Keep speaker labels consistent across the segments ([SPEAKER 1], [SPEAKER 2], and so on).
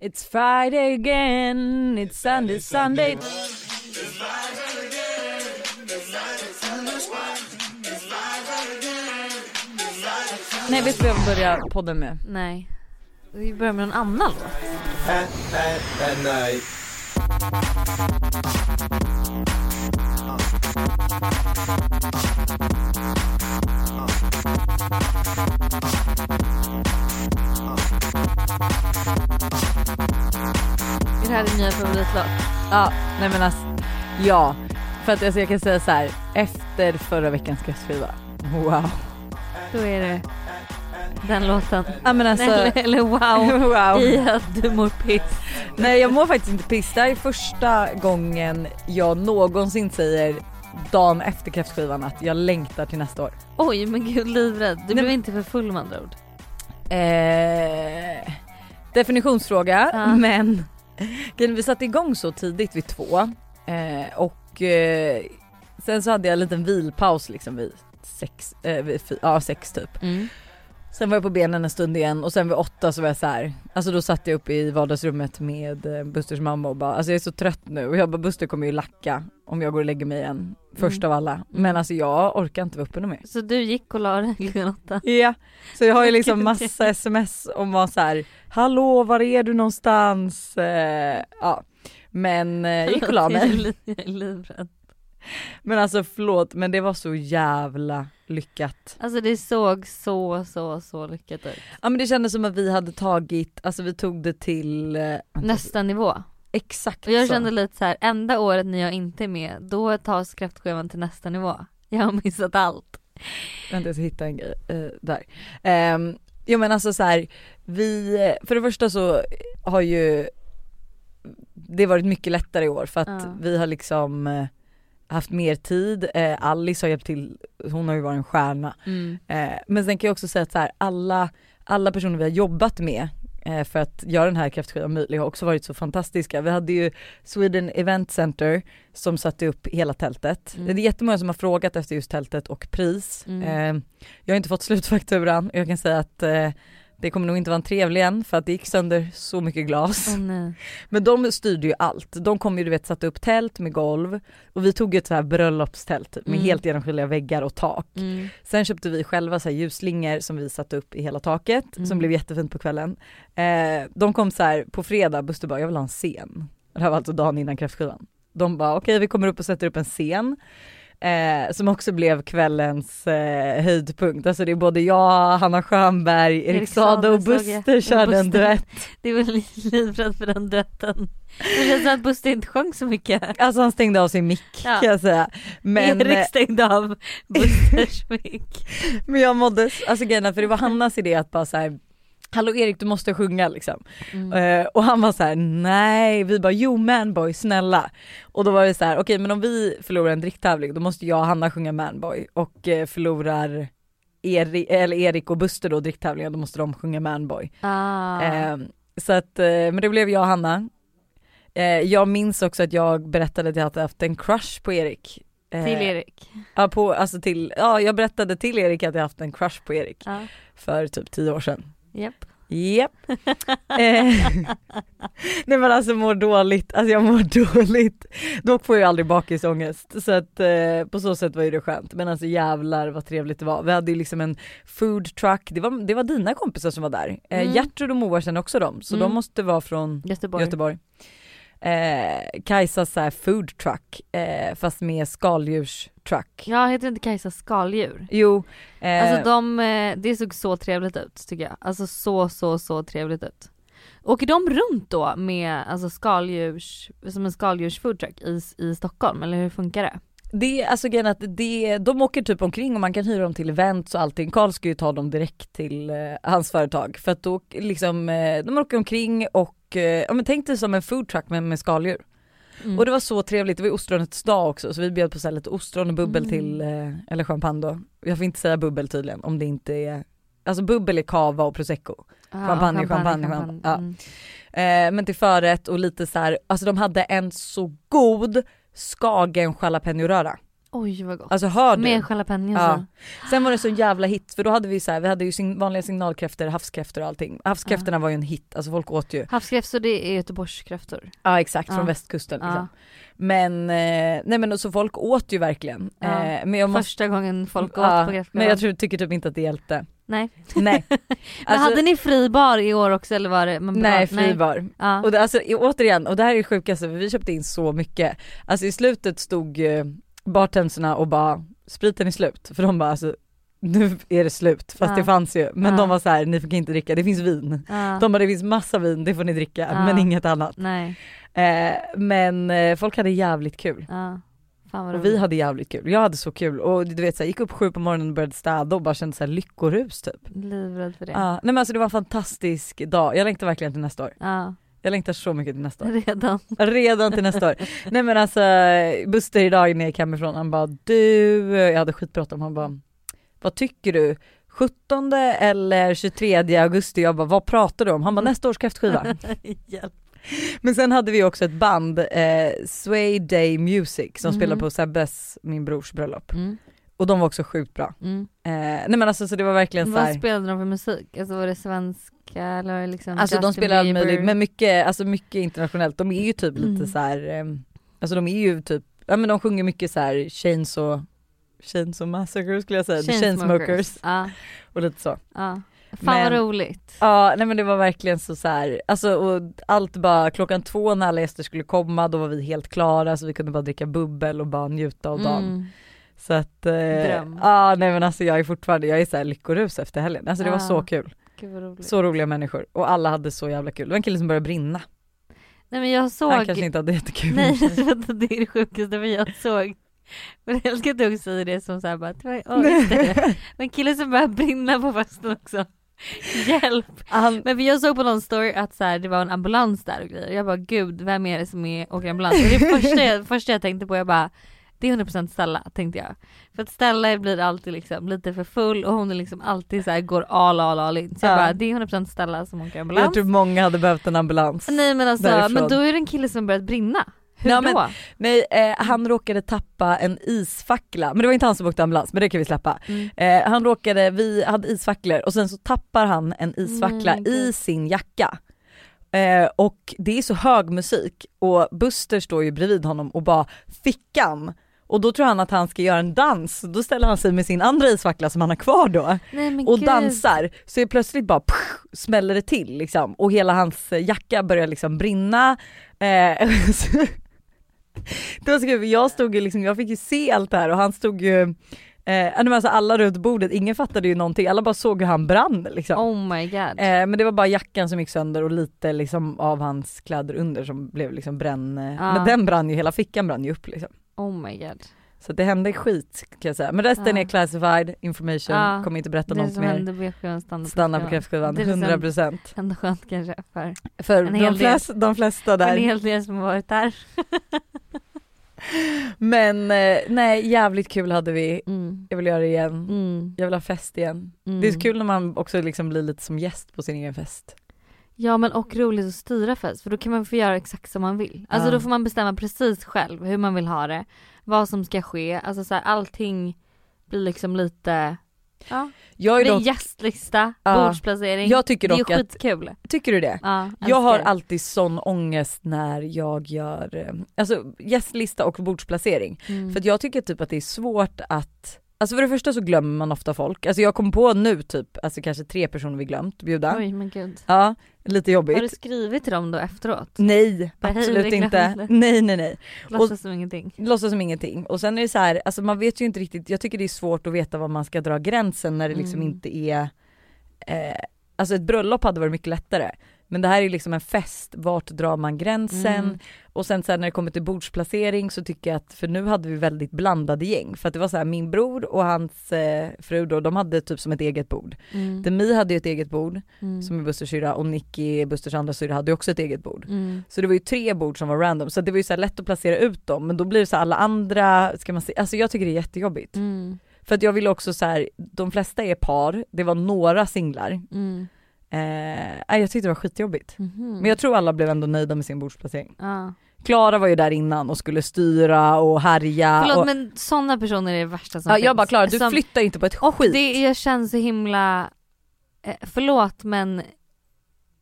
[SPEAKER 1] It's Friday again, it's Sunday, Sunday. Nej, vet du vad jag vill börja podden med?
[SPEAKER 2] Nej. Vi börjar med någon annan då.
[SPEAKER 3] nej.
[SPEAKER 2] Är det här din nya favoritlåt?
[SPEAKER 1] Ja, nej men alltså, ja. För att alltså, jag kan säga så här, efter förra veckans gästskiva, wow.
[SPEAKER 2] Då är det den låten.
[SPEAKER 1] Ja men alltså,
[SPEAKER 2] Eller, eller wow. I
[SPEAKER 1] wow.
[SPEAKER 2] att du mår piss.
[SPEAKER 1] Nej jag mår faktiskt inte piss. Det här är första gången jag någonsin säger dagen efter kräftskivan att jag längtar till nästa år.
[SPEAKER 2] Oj men gud livrädd. Du
[SPEAKER 1] Nej,
[SPEAKER 2] blev inte för full med andra ord.
[SPEAKER 1] Eh, definitionsfråga
[SPEAKER 2] Ja.
[SPEAKER 1] men Grejen, vi satte igång så tidigt vid två eh, och eh, sen så hade jag en liten vilpaus liksom vid sex, eh, vid fy, ja, sex typ. Sen var jag på benen en stund igen och sen vid åtta så var jag så här. alltså då satt jag uppe i vardagsrummet med eh, Busters mamma och bara alltså jag är så trött nu och jag bara Buster kommer ju lacka om jag går och lägger mig igen först
[SPEAKER 2] Mm.
[SPEAKER 1] av alla men alltså jag orkar inte vara uppe något mer.
[SPEAKER 2] Så du gick och la dig klockan åtta?
[SPEAKER 1] Ja, så jag har ju liksom massa sms om vad så här, hallå var är du någonstans? Eh, ja. Men eh, jag gick och la mig.
[SPEAKER 2] Jag är livrädd.
[SPEAKER 1] Men alltså förlåt men det var så jävla lyckat.
[SPEAKER 2] Alltså det såg så så så lyckat ut.
[SPEAKER 1] Ja men det kändes som att vi hade tagit, alltså vi tog det till eh,
[SPEAKER 2] Nästa nivå.
[SPEAKER 1] exakt
[SPEAKER 2] Och jag
[SPEAKER 1] så.
[SPEAKER 2] kände lite så här, enda året när jag inte är med, då tas kräftskivan till nästa nivå. Jag har missat allt.
[SPEAKER 1] Vänta jag ska hitta en grej eh, där. Um, jo men alltså så här, vi, för det första så har ju det varit mycket lättare i år för att
[SPEAKER 2] Ja.
[SPEAKER 1] vi har liksom eh, haft mer tid, eh, Alice har hjälpt till, hon har ju varit en stjärna. Eh, men sen kan jag också säga att så här, alla, alla personer vi har jobbat med eh, för att göra den här kräftskivan möjlig har också varit så fantastiska. Vi hade ju Sweden Event Center som satte upp hela tältet.
[SPEAKER 2] Mm.
[SPEAKER 1] Det är jättemånga som har frågat efter just tältet och pris.
[SPEAKER 2] Mm.
[SPEAKER 1] Eh, jag har inte fått slutfakturan jag kan säga att eh, det kommer nog inte vara en trevlig än för att det gick sönder så mycket glas.
[SPEAKER 2] Åh, nej.
[SPEAKER 1] Men de styrde ju allt. De kom ju du vet satte upp tält med golv och vi tog ju ett så här bröllopstält typ, med
[SPEAKER 2] Mm.
[SPEAKER 1] helt genomskinliga väggar och tak.
[SPEAKER 2] Mm.
[SPEAKER 1] Sen köpte vi själva så här ljusslingor som vi satte upp i hela taket
[SPEAKER 2] Mm.
[SPEAKER 1] som blev jättefint på kvällen. Eh, de kom så här på fredag, Buster bara jag vill ha en scen. Det här var alltså dagen innan kräftskivan. De bara okej vi kommer upp och sätter upp en scen. Eh, som också blev kvällens eh, höjdpunkt. Alltså det är både jag, Hanna Schönberg, Erik
[SPEAKER 2] Erik
[SPEAKER 1] Saade och
[SPEAKER 2] Saade såg jag.
[SPEAKER 1] Buster körde en
[SPEAKER 2] Buster.
[SPEAKER 1] duett.
[SPEAKER 2] Det var livrädd för den duetten. Det känns som att Buster inte sjöng så mycket.
[SPEAKER 1] Alltså han stängde av sin mick
[SPEAKER 2] Ja.
[SPEAKER 1] kan jag säga. Men, eh,
[SPEAKER 2] Erik stängde av Busters mick.
[SPEAKER 1] men jag mådde, alltså grejen är, för det var Hannas idé att bara så här. Hallå Erik du måste sjunga liksom.
[SPEAKER 2] Mm.
[SPEAKER 1] Eh, och han var så här: nej, vi bara jo manboy snälla. Och då var det så här: okej men om vi förlorar en dricktävling då måste jag och Hanna sjunga manboy och eh, förlorar Eri, eller Erik och Buster då dricktävlingen då måste de sjunga manboy.
[SPEAKER 2] Ah.
[SPEAKER 1] Eh, så att, eh, men det blev jag och Hanna. Eh, jag minns också att jag berättade att jag hade haft en crush på Erik. Eh,
[SPEAKER 2] Till Erik.
[SPEAKER 1] Ja, på, alltså till, ja, jag berättade till Erik att jag haft en crush på Erik
[SPEAKER 2] Ja.
[SPEAKER 1] för typ tio år sedan.
[SPEAKER 2] Japp.
[SPEAKER 1] Japp. Eh, Nej men alltså mår dåligt, alltså jag mår dåligt. Dock får jag ju aldrig bakisångest så att eh, på så sätt var ju det skönt. Men alltså jävlar vad trevligt det var. Vi hade ju liksom en food truck, det var, det var dina kompisar som var där. Eh,
[SPEAKER 2] Mm.
[SPEAKER 1] Gertrud och Moa känner också dem så de
[SPEAKER 2] Mm.
[SPEAKER 1] måste vara från
[SPEAKER 2] Göteborg.
[SPEAKER 1] Göteborg. Eh, Kajsas så här food truck eh, fast med skaldjurstruck.
[SPEAKER 2] Ja, heter inte Kajsa skaldjur?
[SPEAKER 1] Jo, eh,
[SPEAKER 2] Alltså de, eh, det såg så trevligt ut tycker jag. Alltså så, så, så trevligt ut. Åker de runt då med alltså skaldjurs, som en skaldjursfoodtruck i, i Stockholm eller hur funkar det?
[SPEAKER 1] det, alltså grejen är att det, de åker typ omkring och man kan hyra dem till events och allting. Karl ska ju ta dem direkt till eh, hans företag för att då liksom, eh, de åker omkring och eh, ja, men tänk dig som en foodtruck men med skaldjur.
[SPEAKER 2] Mm.
[SPEAKER 1] Och det var så trevligt, det var ju ostronets dag också så vi bjöd på så här lite ostron och bubbel
[SPEAKER 2] Mm.
[SPEAKER 1] till, eh, eller champagne då. Jag får inte säga bubbel tydligen om det inte är, alltså bubbel är cava och prosecco.
[SPEAKER 2] Ah,
[SPEAKER 1] champagne, champagne, ja.
[SPEAKER 2] Mm.
[SPEAKER 1] Eh, men till förrätt och lite så här, alltså de hade en så god skagen jalapeno röra.
[SPEAKER 2] Oj vad gott.
[SPEAKER 1] Alltså hör du?
[SPEAKER 2] Med alltså. jalapeños
[SPEAKER 1] Ja.
[SPEAKER 2] i.
[SPEAKER 1] Sen var det så jävla hit för då hade vi så här, vi hade ju sin, vanliga signalkräftor, havskräftor och allting. Havskräftorna var ju en hit, alltså folk åt ju.
[SPEAKER 2] Havskräftor det är Göteborgskräftor.
[SPEAKER 1] Ja exakt,
[SPEAKER 2] Ja.
[SPEAKER 1] från västkusten.
[SPEAKER 2] Ja.
[SPEAKER 1] Liksom. Men, eh, nej men och så folk åt ju verkligen.
[SPEAKER 2] Ja.
[SPEAKER 1] Eh, men jag måste,
[SPEAKER 2] Första gången folk åt
[SPEAKER 1] ja,
[SPEAKER 2] på kräftskivan.
[SPEAKER 1] Men jag tror, tycker typ inte att det hjälpte.
[SPEAKER 2] Nej.
[SPEAKER 1] Nej.
[SPEAKER 2] Men
[SPEAKER 1] Alltså,
[SPEAKER 2] hade ni fri bar i år också eller var det? Man
[SPEAKER 1] Nej, fri bar.
[SPEAKER 2] Ja.
[SPEAKER 1] Och det, alltså, i- återigen, och det här är det sjukaste för vi köpte in så mycket. Alltså i slutet stod eh, bartenderserna och bara spriten är slut för de bara alltså nu är det slut fast
[SPEAKER 2] Ja.
[SPEAKER 1] det fanns ju men
[SPEAKER 2] Ja.
[SPEAKER 1] de var så här ni fick inte dricka det finns vin.
[SPEAKER 2] ja.
[SPEAKER 1] De bara det finns massa vin det får ni dricka
[SPEAKER 2] Ja.
[SPEAKER 1] men inget annat.
[SPEAKER 2] Nej.
[SPEAKER 1] Eh, men eh, folk hade jävligt kul.
[SPEAKER 2] Ja. Fan vad
[SPEAKER 1] Och vi
[SPEAKER 2] roligt.
[SPEAKER 1] hade jävligt kul, jag hade så kul och du vet så här, gick upp sju på morgonen och började städa och bara kände så här lyckorus typ.
[SPEAKER 2] Livrädd för det.
[SPEAKER 1] Ja, nej men alltså det var en fantastisk dag, jag längtar verkligen till nästa år.
[SPEAKER 2] Ja.
[SPEAKER 1] Jag längtar så mycket till nästa år.
[SPEAKER 2] Redan.
[SPEAKER 1] Redan till nästa år. Nej men alltså Buster idag när jag gick hemifrån han bara du, jag hade skitbråttom, han bara vad tycker du? 17 eller 23 augusti? Jag bara vad pratar du om? Han bara nästa års kräftskiva.
[SPEAKER 2] Hjälp.
[SPEAKER 1] men sen hade vi också ett band, eh, Sway Day Music som
[SPEAKER 2] Mhm.
[SPEAKER 1] spelade på Sebbes, min brors bröllop.
[SPEAKER 2] Mm.
[SPEAKER 1] Och de var också sjukt bra.
[SPEAKER 2] Mm.
[SPEAKER 1] Eh, nej men alltså så det var verkligen så
[SPEAKER 2] Vad
[SPEAKER 1] här.
[SPEAKER 2] spelade de för musik? Alltså var det svenska eller var det liksom
[SPEAKER 1] Alltså de
[SPEAKER 2] Justin
[SPEAKER 1] spelar all
[SPEAKER 2] Bieber?
[SPEAKER 1] möjlig, men mycket, alltså mycket internationellt. De är ju typ
[SPEAKER 2] Mm.
[SPEAKER 1] lite så här, ehm, alltså de är ju typ, ja men de sjunger mycket så här Chains och Chains och Massacre skulle jag säga, The Chainsmokers
[SPEAKER 2] Ja,
[SPEAKER 1] och lite så.
[SPEAKER 2] ja. Fan
[SPEAKER 1] Men-
[SPEAKER 2] vad roligt.
[SPEAKER 1] Ja nej men det var verkligen så, så här, alltså och allt bara klockan två när alla gäster skulle komma då var vi helt klara så vi kunde bara dricka bubbel och bara njuta av dagen.
[SPEAKER 2] Mm.
[SPEAKER 1] Så att, eh,
[SPEAKER 2] Dröm.
[SPEAKER 1] ja nej men alltså jag är fortfarande, jag är så här lyckorus efter helgen. Alltså det var
[SPEAKER 2] Ja.
[SPEAKER 1] så kul,
[SPEAKER 2] Gud vad roligt.
[SPEAKER 1] så roliga människor och alla hade så jävla kul. Det var en kille som började brinna.
[SPEAKER 2] Nej men jag såg,
[SPEAKER 1] Han kanske inte hade jättekul.
[SPEAKER 2] nej
[SPEAKER 1] Mm.
[SPEAKER 2] vänta, det är det sjukaste men jag såg, men jag älskar att du också säger det som såhär bara, det var- ja, just det. men killen som började brinna på festen också. Hjälp!
[SPEAKER 1] Han,
[SPEAKER 2] Men för jag såg på någon story att så här, det var en ambulans där och grejer. Jag bara gud, vem är det som är, åker ambulans? Och det första jag, första jag tänkte på, jag bara det är 100% Stella tänkte jag. För att Stella blir alltid liksom lite för full och hon är liksom alltid så här, går all all all in. Så jag
[SPEAKER 1] Ja.
[SPEAKER 2] bara det är 100% Stella som åker ambulans.
[SPEAKER 1] jag tror många hade behövt en ambulans.
[SPEAKER 2] Nej men alltså,
[SPEAKER 1] Därifrån.
[SPEAKER 2] men då är det en kille som börjat brinna. Hur
[SPEAKER 1] Ja,
[SPEAKER 2] då?
[SPEAKER 1] men- Nej, eh, han råkade tappa en isfackla, men det var inte han som åkte ambulans men det kan vi släppa.
[SPEAKER 2] Mm.
[SPEAKER 1] Eh, han råkade, vi hade isfacklor och sen så tappar han en isfackla
[SPEAKER 2] Nej,
[SPEAKER 1] i
[SPEAKER 2] gud.
[SPEAKER 1] sin jacka. Eh, och det är så hög musik och Buster står ju bredvid honom och bara fickan och då tror han att han ska göra en dans, då ställer han sig med sin andra isfackla som han har kvar då.
[SPEAKER 2] Nej, men
[SPEAKER 1] och
[SPEAKER 2] gud.
[SPEAKER 1] dansar så är plötsligt bara pff, smäller det till liksom och hela hans eh, jacka börjar liksom brinna. Eh, så- det var så kul för jag stod ju liksom, jag fick ju se allt det här och han stod ju, eh, nej, men alltså alla runt bordet, ingen fattade ju någonting, alla bara såg hur han brann liksom.
[SPEAKER 2] Oh my god.
[SPEAKER 1] Eh, men det var bara jackan som gick sönder och lite liksom av hans kläder under som blev liksom bränn, eh,
[SPEAKER 2] Ah.
[SPEAKER 1] men den brann ju, hela fickan brann ju upp liksom.
[SPEAKER 2] Oh my god.
[SPEAKER 1] Så det hände skit kan jag säga. Men resten
[SPEAKER 2] Ah.
[SPEAKER 1] är classified information,
[SPEAKER 2] Ah.
[SPEAKER 1] kommer inte berätta
[SPEAKER 2] Det är
[SPEAKER 1] något
[SPEAKER 2] som
[SPEAKER 1] mer.
[SPEAKER 2] händer på E kräftskivan stannar
[SPEAKER 1] Stanna på E kräftskivan,
[SPEAKER 2] Det är liksom-
[SPEAKER 1] 100 procent.
[SPEAKER 2] Ändå skönt kanske för
[SPEAKER 1] För
[SPEAKER 2] En hel
[SPEAKER 1] de, flest, de flesta
[SPEAKER 2] en
[SPEAKER 1] där.
[SPEAKER 2] hel del som har varit där.
[SPEAKER 1] Men eh, nej, jävligt kul hade vi.
[SPEAKER 2] Mm.
[SPEAKER 1] Jag vill göra det igen.
[SPEAKER 2] Mm.
[SPEAKER 1] Jag vill ha fest igen.
[SPEAKER 2] Mm.
[SPEAKER 1] Det är så kul när man också liksom blir lite som gäst på sin egen fest.
[SPEAKER 2] Ja men och roligt att styra fest för då kan man få göra exakt som man vill. Alltså
[SPEAKER 1] Ja.
[SPEAKER 2] då får man bestämma precis själv hur man vill ha det, vad som ska ske, alltså så här, allting blir liksom lite, ja.
[SPEAKER 1] Jag, är
[SPEAKER 2] det är
[SPEAKER 1] dock,
[SPEAKER 2] gästlista,
[SPEAKER 1] Ja.
[SPEAKER 2] bordsplacering.
[SPEAKER 1] jag tycker
[SPEAKER 2] det är ju
[SPEAKER 1] dock att,
[SPEAKER 2] skitkul.
[SPEAKER 1] tycker du det?
[SPEAKER 2] Ja,
[SPEAKER 1] Jag har
[SPEAKER 2] älskar.
[SPEAKER 1] alltid sån ångest när jag gör eh, alltså gästlista och bordsplacering.
[SPEAKER 2] Mm.
[SPEAKER 1] För att jag tycker typ att det är svårt att, alltså för det första så glömmer man ofta folk. Alltså jag kom på nu typ, alltså kanske tre personer vi glömt bjuda.
[SPEAKER 2] Oj men gud.
[SPEAKER 1] Ja, lite
[SPEAKER 2] Har du
[SPEAKER 1] jobbigt.
[SPEAKER 2] skrivit till dem då efteråt?
[SPEAKER 1] Nej,
[SPEAKER 2] Bara, "Hej,
[SPEAKER 1] absolut
[SPEAKER 2] vi glömde."
[SPEAKER 1] inte. Nej nej nej.
[SPEAKER 2] Låtsas som ingenting.
[SPEAKER 1] låtsas som ingenting. Och sen är det så här, alltså man vet ju inte riktigt, jag tycker det är svårt att veta var man ska dra gränsen när det liksom
[SPEAKER 2] Mm.
[SPEAKER 1] inte är, eh, alltså ett bröllop hade varit mycket lättare. Men det här är liksom en fest, vart drar man gränsen?
[SPEAKER 2] Mm.
[SPEAKER 1] Och sen så här, när det kommer till bordsplacering så tycker jag att, för nu hade vi väldigt blandade gäng. För att det var så här, min bror och hans eh, fru då, de hade typ som ett eget bord.
[SPEAKER 2] Mm.
[SPEAKER 1] Demi hade ju ett eget bord
[SPEAKER 2] Mm.
[SPEAKER 1] som är Busters syrra och Nicky, Busters andra syrra, hade ju också ett eget bord.
[SPEAKER 2] Mm.
[SPEAKER 1] Så det var ju tre bord som var random, så det var ju så här lätt att placera ut dem men då blir det så här alla andra, ska man se, alltså jag tycker det är jättejobbigt.
[SPEAKER 2] Mm.
[SPEAKER 1] För att jag vill också så här, de flesta är par, det var några singlar.
[SPEAKER 2] Mm.
[SPEAKER 1] Eh, nej, jag tyckte det var skitjobbigt.
[SPEAKER 2] Mhm.
[SPEAKER 1] Men jag tror alla blev ändå nöjda med sin bordsplacering.
[SPEAKER 2] Ja.
[SPEAKER 1] Klara var ju där innan och skulle styra och härja.
[SPEAKER 2] Förlåt
[SPEAKER 1] och,
[SPEAKER 2] men sådana personer är det värsta som
[SPEAKER 1] ja,
[SPEAKER 2] finns.
[SPEAKER 1] jag bara Klara du
[SPEAKER 2] Som-
[SPEAKER 1] flyttar inte på ett
[SPEAKER 2] Och
[SPEAKER 1] skit.
[SPEAKER 2] det jag känns så himla, eh, förlåt men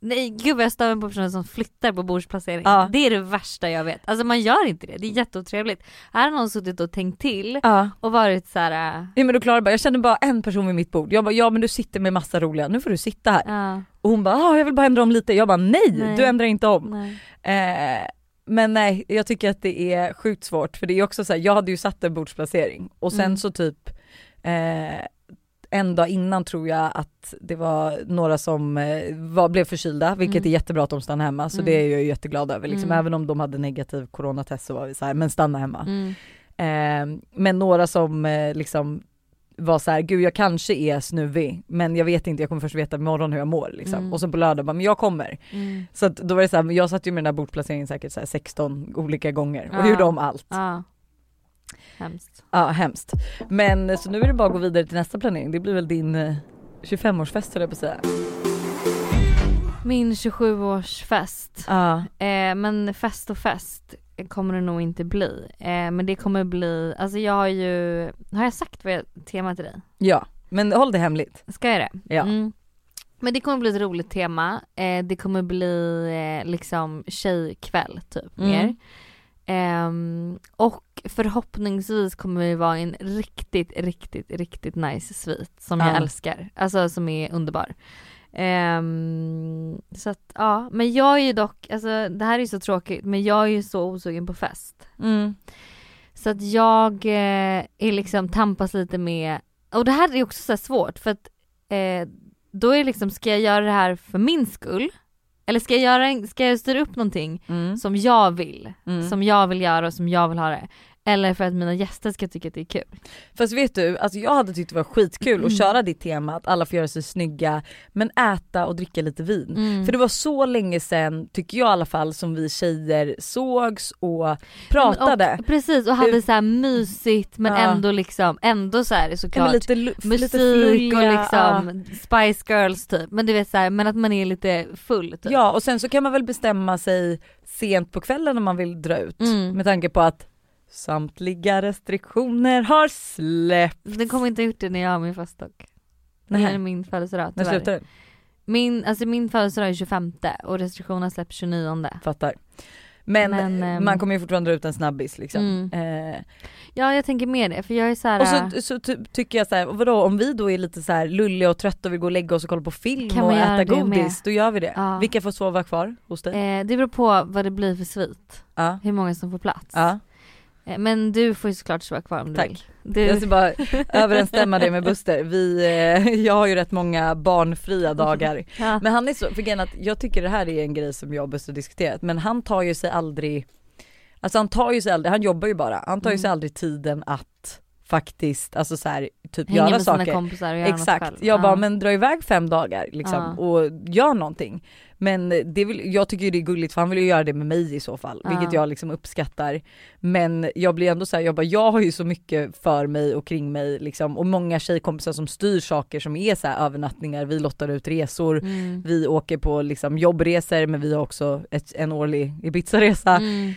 [SPEAKER 2] Nej gud vad jag stör mig på personer som flyttar på bordsplacering.
[SPEAKER 1] Ja.
[SPEAKER 2] Det är det värsta jag vet. Alltså man gör inte det, det är jätteotrevligt. Här har någon suttit och tänkt till
[SPEAKER 1] Ja.
[SPEAKER 2] och varit så här. eh,
[SPEAKER 1] Nej men då Klara bara, jag känner bara en person vid mitt bord. Jag bara, ja men du sitter med massa roliga, nu får du sitta här.
[SPEAKER 2] eh, ja,
[SPEAKER 1] Och hon bara, ah, jag vill bara ändra om lite. Jag bara, nej,
[SPEAKER 2] Nej.
[SPEAKER 1] du ändrar inte om.
[SPEAKER 2] nej.
[SPEAKER 1] Eh, men nej, jag tycker att det är sjukt svårt för det är också så här, jag hade ju satt en bordsplacering och sen
[SPEAKER 2] Mm.
[SPEAKER 1] så typ eh, en dag innan tror jag att det var några som eh, var, blev förkylda, vilket
[SPEAKER 2] Mm.
[SPEAKER 1] är jättebra att de stannar hemma så
[SPEAKER 2] Mm.
[SPEAKER 1] det är jag ju jätteglad över. Liksom.
[SPEAKER 2] Mm.
[SPEAKER 1] Även om de hade negativ coronatest så var vi så här, men stanna hemma.
[SPEAKER 2] Mm.
[SPEAKER 1] Eh, men några som eh, liksom var så här, gud jag kanske är snuvig men jag vet inte, jag kommer först veta imorgon hur jag mår. Liksom.
[SPEAKER 2] Mm.
[SPEAKER 1] Och sen på lördag bara, men jag kommer.
[SPEAKER 2] Mm.
[SPEAKER 1] Så att då var det så här, men jag satt ju med den här bordsplaceringen säkert så här 16 olika gånger och
[SPEAKER 2] Ja.
[SPEAKER 1] gjorde om allt. Ja.
[SPEAKER 2] Ja. Hemskt.
[SPEAKER 1] hemskt. Men så nu är det bara att gå vidare till nästa planering, det blir väl din eh, 25-årsfest höll jag på att säga.
[SPEAKER 2] Min 27-årsfest.
[SPEAKER 1] Ja.
[SPEAKER 2] Eh, men fest och fest kommer det nog inte bli. Eh, men det kommer bli, alltså jag har ju, har jag sagt vad jag temat till dig?
[SPEAKER 1] Ja, men håll det hemligt.
[SPEAKER 2] Ska jag det?
[SPEAKER 1] Ja.
[SPEAKER 2] Mm. Men det kommer bli ett roligt tema. Eh, det kommer bli eh, liksom tjejkväll typ
[SPEAKER 1] Mm.
[SPEAKER 2] mer. Ehm, och förhoppningsvis kommer vi vara i en riktigt, riktigt, riktigt nice svit som
[SPEAKER 1] Ja.
[SPEAKER 2] jag älskar. Alltså som är underbar. Ehm, så att ja, men jag är ju dock, alltså det här är ju så tråkigt men jag är ju så osugen på fest.
[SPEAKER 1] Mm.
[SPEAKER 2] Så att jag eh, är liksom tampas lite med, och det här är också så här svårt för att eh, då är det liksom, ska jag göra det här för min skull? Eller ska jag, göra, en- ska jag styra upp någonting
[SPEAKER 1] Mm.
[SPEAKER 2] som jag vill,
[SPEAKER 1] Mm.
[SPEAKER 2] som jag vill göra och som jag vill ha det? Eller för att mina gäster ska tycka att det är kul.
[SPEAKER 1] Fast vet du, alltså jag hade tyckt det var skitkul att
[SPEAKER 2] Mm.
[SPEAKER 1] köra ditt tema att alla får göra sig snygga men äta och dricka lite vin.
[SPEAKER 2] Mm.
[SPEAKER 1] Mm. För det var så länge sedan, tycker jag i alla fall, som vi tjejer sågs och pratade.
[SPEAKER 2] Och, precis, och hade så här mysigt men
[SPEAKER 1] Ja.
[SPEAKER 2] ändå liksom, ändå så här
[SPEAKER 1] Ja, men
[SPEAKER 2] såklart
[SPEAKER 1] lite, lu- lite
[SPEAKER 2] musik
[SPEAKER 1] flulliga,
[SPEAKER 2] och
[SPEAKER 1] ja.
[SPEAKER 2] liksom Spice Girls typ. Men du vet så här, men att man är lite full typ.
[SPEAKER 1] Ja och sen så kan man väl bestämma sig sent på kvällen om man vill dra ut
[SPEAKER 2] Mm.
[SPEAKER 1] med tanke på att samtliga restriktioner har släppt.
[SPEAKER 2] Den kommer inte ha gjort det när jag har min fest dock. Det är
[SPEAKER 1] Nej,
[SPEAKER 2] min födelsedag
[SPEAKER 1] när
[SPEAKER 2] tyvärr.
[SPEAKER 1] slutar den?
[SPEAKER 2] Min, alltså min födelsedag är 25 och restriktionerna släpps 29.
[SPEAKER 1] Fattar. Men, eh,
[SPEAKER 2] Men, ehm,
[SPEAKER 1] man kommer ju fortfarande dra ut en snabbis liksom.
[SPEAKER 2] Mm. Äh.
[SPEAKER 1] Eh,
[SPEAKER 2] Ja jag tänker mer det för jag är eh, såhär,
[SPEAKER 1] och så, så ty- tycker jag så här, vadå om vi då är lite så här lulliga och trötta och vill gå och lägga oss och kolla på film
[SPEAKER 2] Kan
[SPEAKER 1] och
[SPEAKER 2] man göra
[SPEAKER 1] äta
[SPEAKER 2] det med?
[SPEAKER 1] godis, då gör vi det.
[SPEAKER 2] Ja.
[SPEAKER 1] Vilka får sova kvar hos dig?
[SPEAKER 2] eh, det beror på vad det blir för svit,
[SPEAKER 1] Ja.
[SPEAKER 2] hur många som får plats.
[SPEAKER 1] Ja,
[SPEAKER 2] Eh, men du får ju såklart vara kvar om du
[SPEAKER 1] Tack.
[SPEAKER 2] vill.
[SPEAKER 1] jag
[SPEAKER 2] Du,
[SPEAKER 1] ska bara överensstämma det med Buster. Vi, eh, jag har ju rätt många barnfria dagar
[SPEAKER 2] ja.
[SPEAKER 1] Men han är så, för grejen att jag tycker det här är en grej som jag och Buster diskuterat, men han tar ju sig aldrig, alltså han tar ju sig aldrig, han jobbar ju bara, han tar ju
[SPEAKER 2] Mm.
[SPEAKER 1] sig aldrig tiden att faktiskt, alltså så här, typ
[SPEAKER 2] Hänga
[SPEAKER 1] göra
[SPEAKER 2] med sina
[SPEAKER 1] saker.
[SPEAKER 2] kompisar och göra något
[SPEAKER 1] Exakt,
[SPEAKER 2] själv.
[SPEAKER 1] jag
[SPEAKER 2] Ja.
[SPEAKER 1] bara men dra iväg fem dagar liksom
[SPEAKER 2] Ja.
[SPEAKER 1] och gör någonting. Men det vill, jag tycker ju det är gulligt för han vill ju göra det med mig i så fall,
[SPEAKER 2] Ja.
[SPEAKER 1] vilket jag liksom uppskattar. Men jag blir ändå så här, jag bara jag har ju så mycket för mig och kring mig liksom och många tjejkompisar som styr saker som är så här övernattningar, vi lottar ut resor,
[SPEAKER 2] Mm.
[SPEAKER 1] vi åker på liksom jobbresor men vi har också ett, en årlig Ibiza-resa.
[SPEAKER 2] Mm.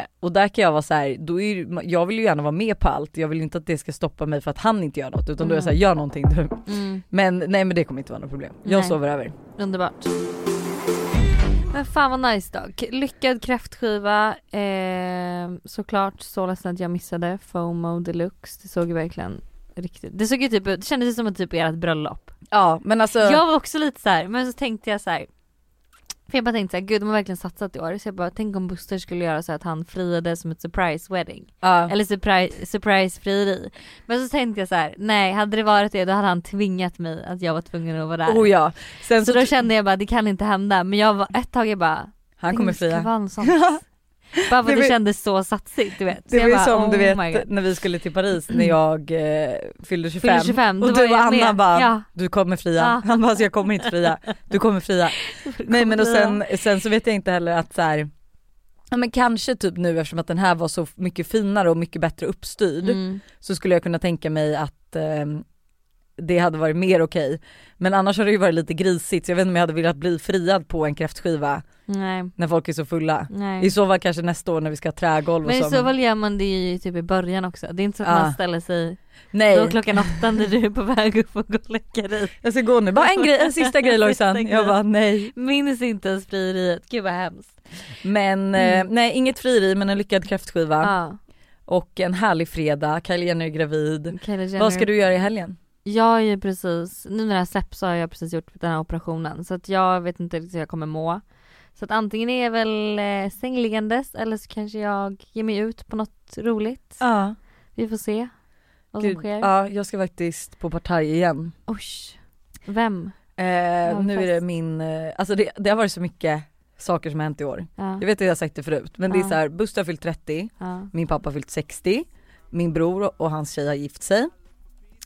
[SPEAKER 1] Eh, och där kan jag vara så här, då är, ju- jag vill ju gärna vara med på allt. Jag vill ju inte att det ska stoppa mig för att han inte gör något utan då är jag såhär, gör någonting du.
[SPEAKER 2] Mm.
[SPEAKER 1] Men nej men det kommer inte vara något problem. Jag
[SPEAKER 2] Nej.
[SPEAKER 1] sover över.
[SPEAKER 2] Underbart. Men fan vad nice dock. Lyckad kräftskiva. Eh, såklart så ledsen att jag missade FOMO deluxe. Det såg ju verkligen riktigt, det såg ju typ ut, det kändes ju som ett typ ert bröllop.
[SPEAKER 1] Ja men alltså,
[SPEAKER 2] Jag var också lite så här, men så tänkte jag så här. För jag bara tänkte såhär, gud de har verkligen satsat i år. Så jag bara, tänk om Buster skulle göra så att han friade som ett surprise wedding.
[SPEAKER 1] ja.
[SPEAKER 2] Eller surprise, surprise frieri. Men så tänkte jag så här: nej hade det varit det då hade han tvingat mig att jag var tvungen att vara där.
[SPEAKER 1] oh ja. Sen
[SPEAKER 2] Så
[SPEAKER 1] så,
[SPEAKER 2] då kände jag bara det kan inte hända men jag var ett tag jag bara
[SPEAKER 1] han
[SPEAKER 2] "Tänk
[SPEAKER 1] kommer
[SPEAKER 2] om det skulle
[SPEAKER 1] fria.
[SPEAKER 2] vara en sån." Bara för
[SPEAKER 1] Det
[SPEAKER 2] att det
[SPEAKER 1] var-
[SPEAKER 2] kändes så satsigt du vet.
[SPEAKER 1] Det
[SPEAKER 2] Så
[SPEAKER 1] var
[SPEAKER 2] jag
[SPEAKER 1] ju
[SPEAKER 2] bara,
[SPEAKER 1] som du
[SPEAKER 2] "Oh
[SPEAKER 1] vet
[SPEAKER 2] my God."
[SPEAKER 1] när vi skulle till Paris när jag eh, fyllde 25.
[SPEAKER 2] Fyllde 25 då
[SPEAKER 1] och
[SPEAKER 2] var
[SPEAKER 1] du och
[SPEAKER 2] jag
[SPEAKER 1] Anna
[SPEAKER 2] med.
[SPEAKER 1] bara,
[SPEAKER 2] ja.
[SPEAKER 1] du kommer fria.
[SPEAKER 2] Ja.
[SPEAKER 1] Han bara, alltså, jag kommer inte fria. Du kommer fria. Nej men och sen, sen så vet jag inte heller att så här, ja men kanske typ nu eftersom att den här var så mycket finare och mycket bättre uppstyrd
[SPEAKER 2] Mm.
[SPEAKER 1] så skulle jag kunna tänka mig att eh, det hade varit mer okej. Men annars har det ju varit lite grisigt så jag vet inte om jag hade velat bli friad på en kräftskiva
[SPEAKER 2] Nej.
[SPEAKER 1] när folk är så fulla.
[SPEAKER 2] Nej.
[SPEAKER 1] I så fall kanske nästa år när vi ska ha trägolv och
[SPEAKER 2] Men i
[SPEAKER 1] så.
[SPEAKER 2] så fall gör man det ju typ i början också. Det är inte så att
[SPEAKER 1] Ja.
[SPEAKER 2] man ställer sig
[SPEAKER 1] Ah.
[SPEAKER 2] då
[SPEAKER 1] Nej,
[SPEAKER 2] klockan åtta när du är på väg upp och går och lägga dig.
[SPEAKER 1] jag ska gå nu. Bara en, grej, en sista grej Lojsan.
[SPEAKER 2] Sista
[SPEAKER 1] Jag
[SPEAKER 2] grej.
[SPEAKER 1] bara nej.
[SPEAKER 2] Minns inte ens frieriet, gud vad hemskt.
[SPEAKER 1] Men
[SPEAKER 2] Mm.
[SPEAKER 1] eh, nej inget frieri men en lyckad kräftskiva
[SPEAKER 2] Ja.
[SPEAKER 1] och en härlig fredag. Kylie Jenner är gravid.
[SPEAKER 2] Kylie Jenner.
[SPEAKER 1] Vad ska du göra i helgen?
[SPEAKER 2] Jag är ju precis, nu när det här släpps så har jag precis gjort den här operationen så att jag vet inte riktigt hur jag kommer må. Så att antingen är jag väl eh, sängliggandes eller så kanske jag ger mig ut på något roligt.
[SPEAKER 1] Ja,
[SPEAKER 2] Vi får se vad
[SPEAKER 1] gud,
[SPEAKER 2] som sker.
[SPEAKER 1] ja jag ska faktiskt på partaj igen.
[SPEAKER 2] Oj. Vem?
[SPEAKER 1] Eh, nu är det min, eh, alltså det, det har varit så mycket saker som har hänt i år.
[SPEAKER 2] Ja.
[SPEAKER 1] Jag vet att jag har sagt det förut men det är
[SPEAKER 2] Ja.
[SPEAKER 1] så här, Buster har fyllt 30,
[SPEAKER 2] Ja.
[SPEAKER 1] min pappa har fyllt 60, min bror och- och hans tjej har gift sig.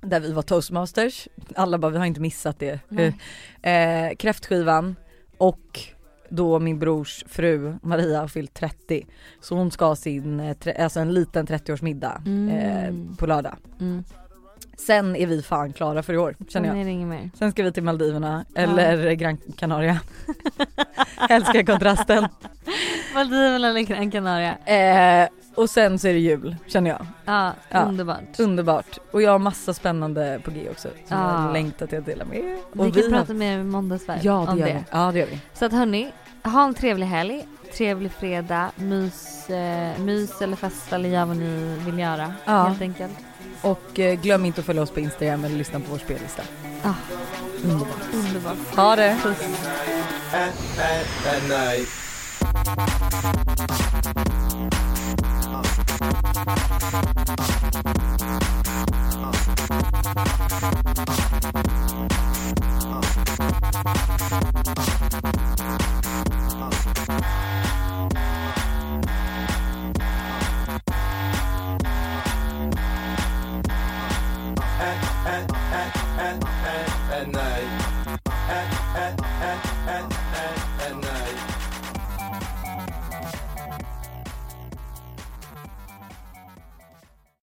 [SPEAKER 1] Där vi var toastmasters, alla bara vi har inte missat det.
[SPEAKER 2] Nej.
[SPEAKER 1] Eh, kräftskivan och då min brors fru Maria har fyllt 30 så hon ska ha sin, eh, tre, alltså en liten 30-årsmiddag
[SPEAKER 2] Mm.
[SPEAKER 1] eh, på lördag.
[SPEAKER 2] Mm.
[SPEAKER 1] Sen är vi fan klara för i år känner jag.
[SPEAKER 2] Nej, det är inget mer.
[SPEAKER 1] Sen ska vi till Maldiverna eller Gran Canaria. Älskar kontrasten.
[SPEAKER 2] Maldiverna eller Gran Canaria.
[SPEAKER 1] Eh, och sen så är det jul känner jag.
[SPEAKER 2] Ja,
[SPEAKER 1] Ja.
[SPEAKER 2] underbart.
[SPEAKER 1] Underbart. Och jag har massa spännande på g också som
[SPEAKER 2] Ah.
[SPEAKER 1] jag längtar till att dela med er.
[SPEAKER 2] Vi
[SPEAKER 1] Och
[SPEAKER 2] kan prata mer i måndagsvarv
[SPEAKER 1] ja, det
[SPEAKER 2] om
[SPEAKER 1] gör
[SPEAKER 2] det.
[SPEAKER 1] Vi. ja det gör vi.
[SPEAKER 2] Så att hörni, ha en trevlig helg, trevlig fredag, mys, eh, mys eller festa eller gör vad ni vill göra
[SPEAKER 1] Ja.
[SPEAKER 2] helt enkelt.
[SPEAKER 1] Och eh, glöm inte att följa oss på Instagram eller lyssna på vår spellista.
[SPEAKER 2] Ah.
[SPEAKER 1] Underbart.
[SPEAKER 2] Underbart.
[SPEAKER 1] Ha det!
[SPEAKER 3] at, at, at night.